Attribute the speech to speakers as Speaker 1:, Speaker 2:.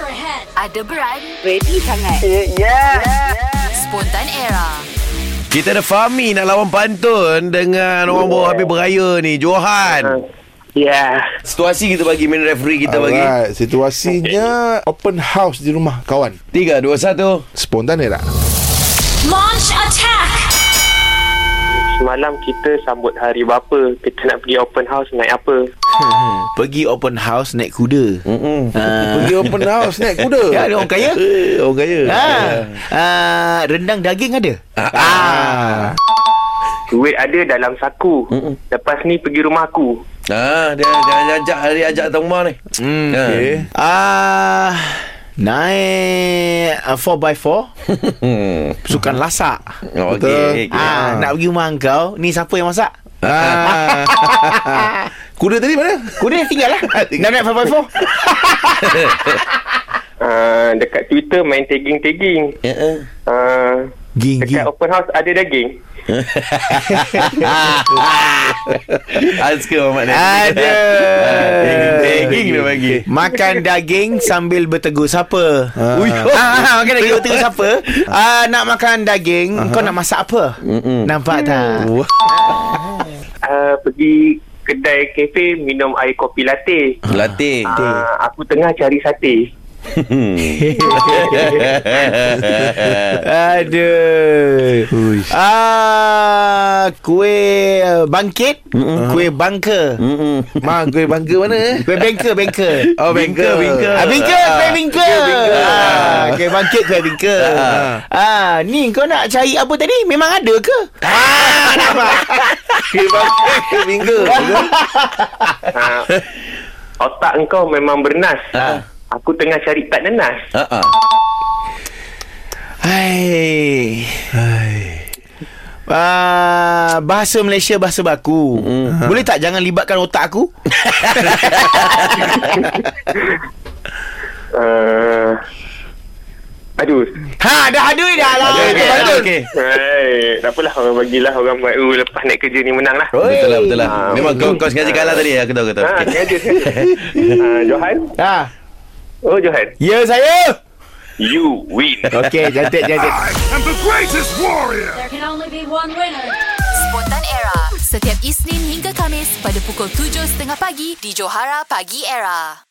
Speaker 1: Ada beran Ready sangat
Speaker 2: Ya. Yeah. Yeah.
Speaker 1: Spontan era
Speaker 3: Kita ada Fahmi nak lawan pantun dengan orang bawa habis beraya ni,
Speaker 2: Ah,
Speaker 4: Eh.
Speaker 3: Johan.
Speaker 2: Yeah.
Speaker 3: Situasi kita bagi main referee kita bagi.
Speaker 4: Alright, situasinya open house di rumah kawan.
Speaker 3: 3 2 1.
Speaker 4: Spontan ni tak?
Speaker 5: Launch attack!
Speaker 2: Semalam kita sambut hari bapa. Kita nak pergi open house naik apa?
Speaker 6: Pergi open house naik kuda. Ah.
Speaker 3: Mm-mm.
Speaker 4: Pergi open house naik kuda.
Speaker 6: Ya, ada orang kaya.
Speaker 3: Eh, orang kaya.
Speaker 6: Ha.
Speaker 4: Ya.
Speaker 6: Ah, rendang daging ada. Ah.
Speaker 2: Duit ada dalam saku. Mm-mm. Lepas ni pergi rumah aku.
Speaker 3: Ah, dia jangan ajak dia ajak datang rumah ni.
Speaker 6: Hmm.
Speaker 3: Ha.
Speaker 4: Okey.
Speaker 6: Ah. Naik uh, 4x4 Sukan lasak
Speaker 3: Oh,
Speaker 4: Betul.
Speaker 3: okey. okey.
Speaker 4: Ha.
Speaker 6: ah,
Speaker 4: Ya.
Speaker 6: Nak pergi rumah kau Ni siapa yang masak?
Speaker 4: Ah. kuda tadi mana?
Speaker 6: Kuda tinggal lah Dah naik 4x4
Speaker 2: Uh, dekat Twitter main tagging-tagging.
Speaker 3: Eh, eh.
Speaker 2: Uh,
Speaker 6: Ging
Speaker 2: dekat open house ada daging.
Speaker 3: Ah, suka Muhammad Nabi.
Speaker 6: Ada
Speaker 3: Daging dia bagi.
Speaker 6: Makan daging sambil bertegur siapa?
Speaker 4: Ah.
Speaker 6: Ui, ah, makan daging bertegur siapa? Ah, Hmm. nak makan daging, kau nak masak apa? Nampak tak?
Speaker 2: Uh, pergi kedai kafe minum air kopi latte.
Speaker 3: Latih.
Speaker 2: Uh, aku tengah cari sate.
Speaker 6: Aduh. Ah, kuih eh, bangkit, kuih bangka.
Speaker 4: Ma, kuih bangga mana eh?
Speaker 6: Kuih bengka, bengka.
Speaker 4: Oh, bengkel.
Speaker 3: bengkel.
Speaker 6: Ah, bingka, kuih bingka. Ah, kuih bangkit, kuih bingka. Ah, ni kau nak cari apa tadi? Memang ada ke? Ah, nampak.
Speaker 4: Kuih bangga, kuih bingga.
Speaker 2: Uh, otak engkau memang bernas. Uh. Aku tengah cari tak nenas.
Speaker 3: Ha ah.
Speaker 6: Hai. Ah, bahasa Malaysia bahasa baku. Mm. Boleh tak jangan libatkan otak aku?
Speaker 2: Uh, aduh.
Speaker 6: ha, dah ada dah lah.
Speaker 4: Eh,
Speaker 3: Okey,
Speaker 6: Okey,
Speaker 3: okey,
Speaker 6: betul.
Speaker 3: okey.
Speaker 2: Hai, tak apalah orang bagilah orang buat uh, lepas naik kerja ni menang lah.
Speaker 6: Oi.
Speaker 3: Betul lah, betul lah.
Speaker 2: Ah,
Speaker 3: Memang kau kau sengaja kalah tadi, aku tahu, aku tahu.
Speaker 2: Ha,
Speaker 3: Okey.
Speaker 2: sengaja sengaja. uh, Johan?
Speaker 6: Ha.
Speaker 2: Oh, Johan.
Speaker 6: Ya saya.
Speaker 2: You win.
Speaker 6: Okey, cantik cantik.
Speaker 5: There can only be one winner.
Speaker 1: Spontan era Setiap Isnin hingga Kamis Pada pukul 7.30 pagi Di Johara Pagi Era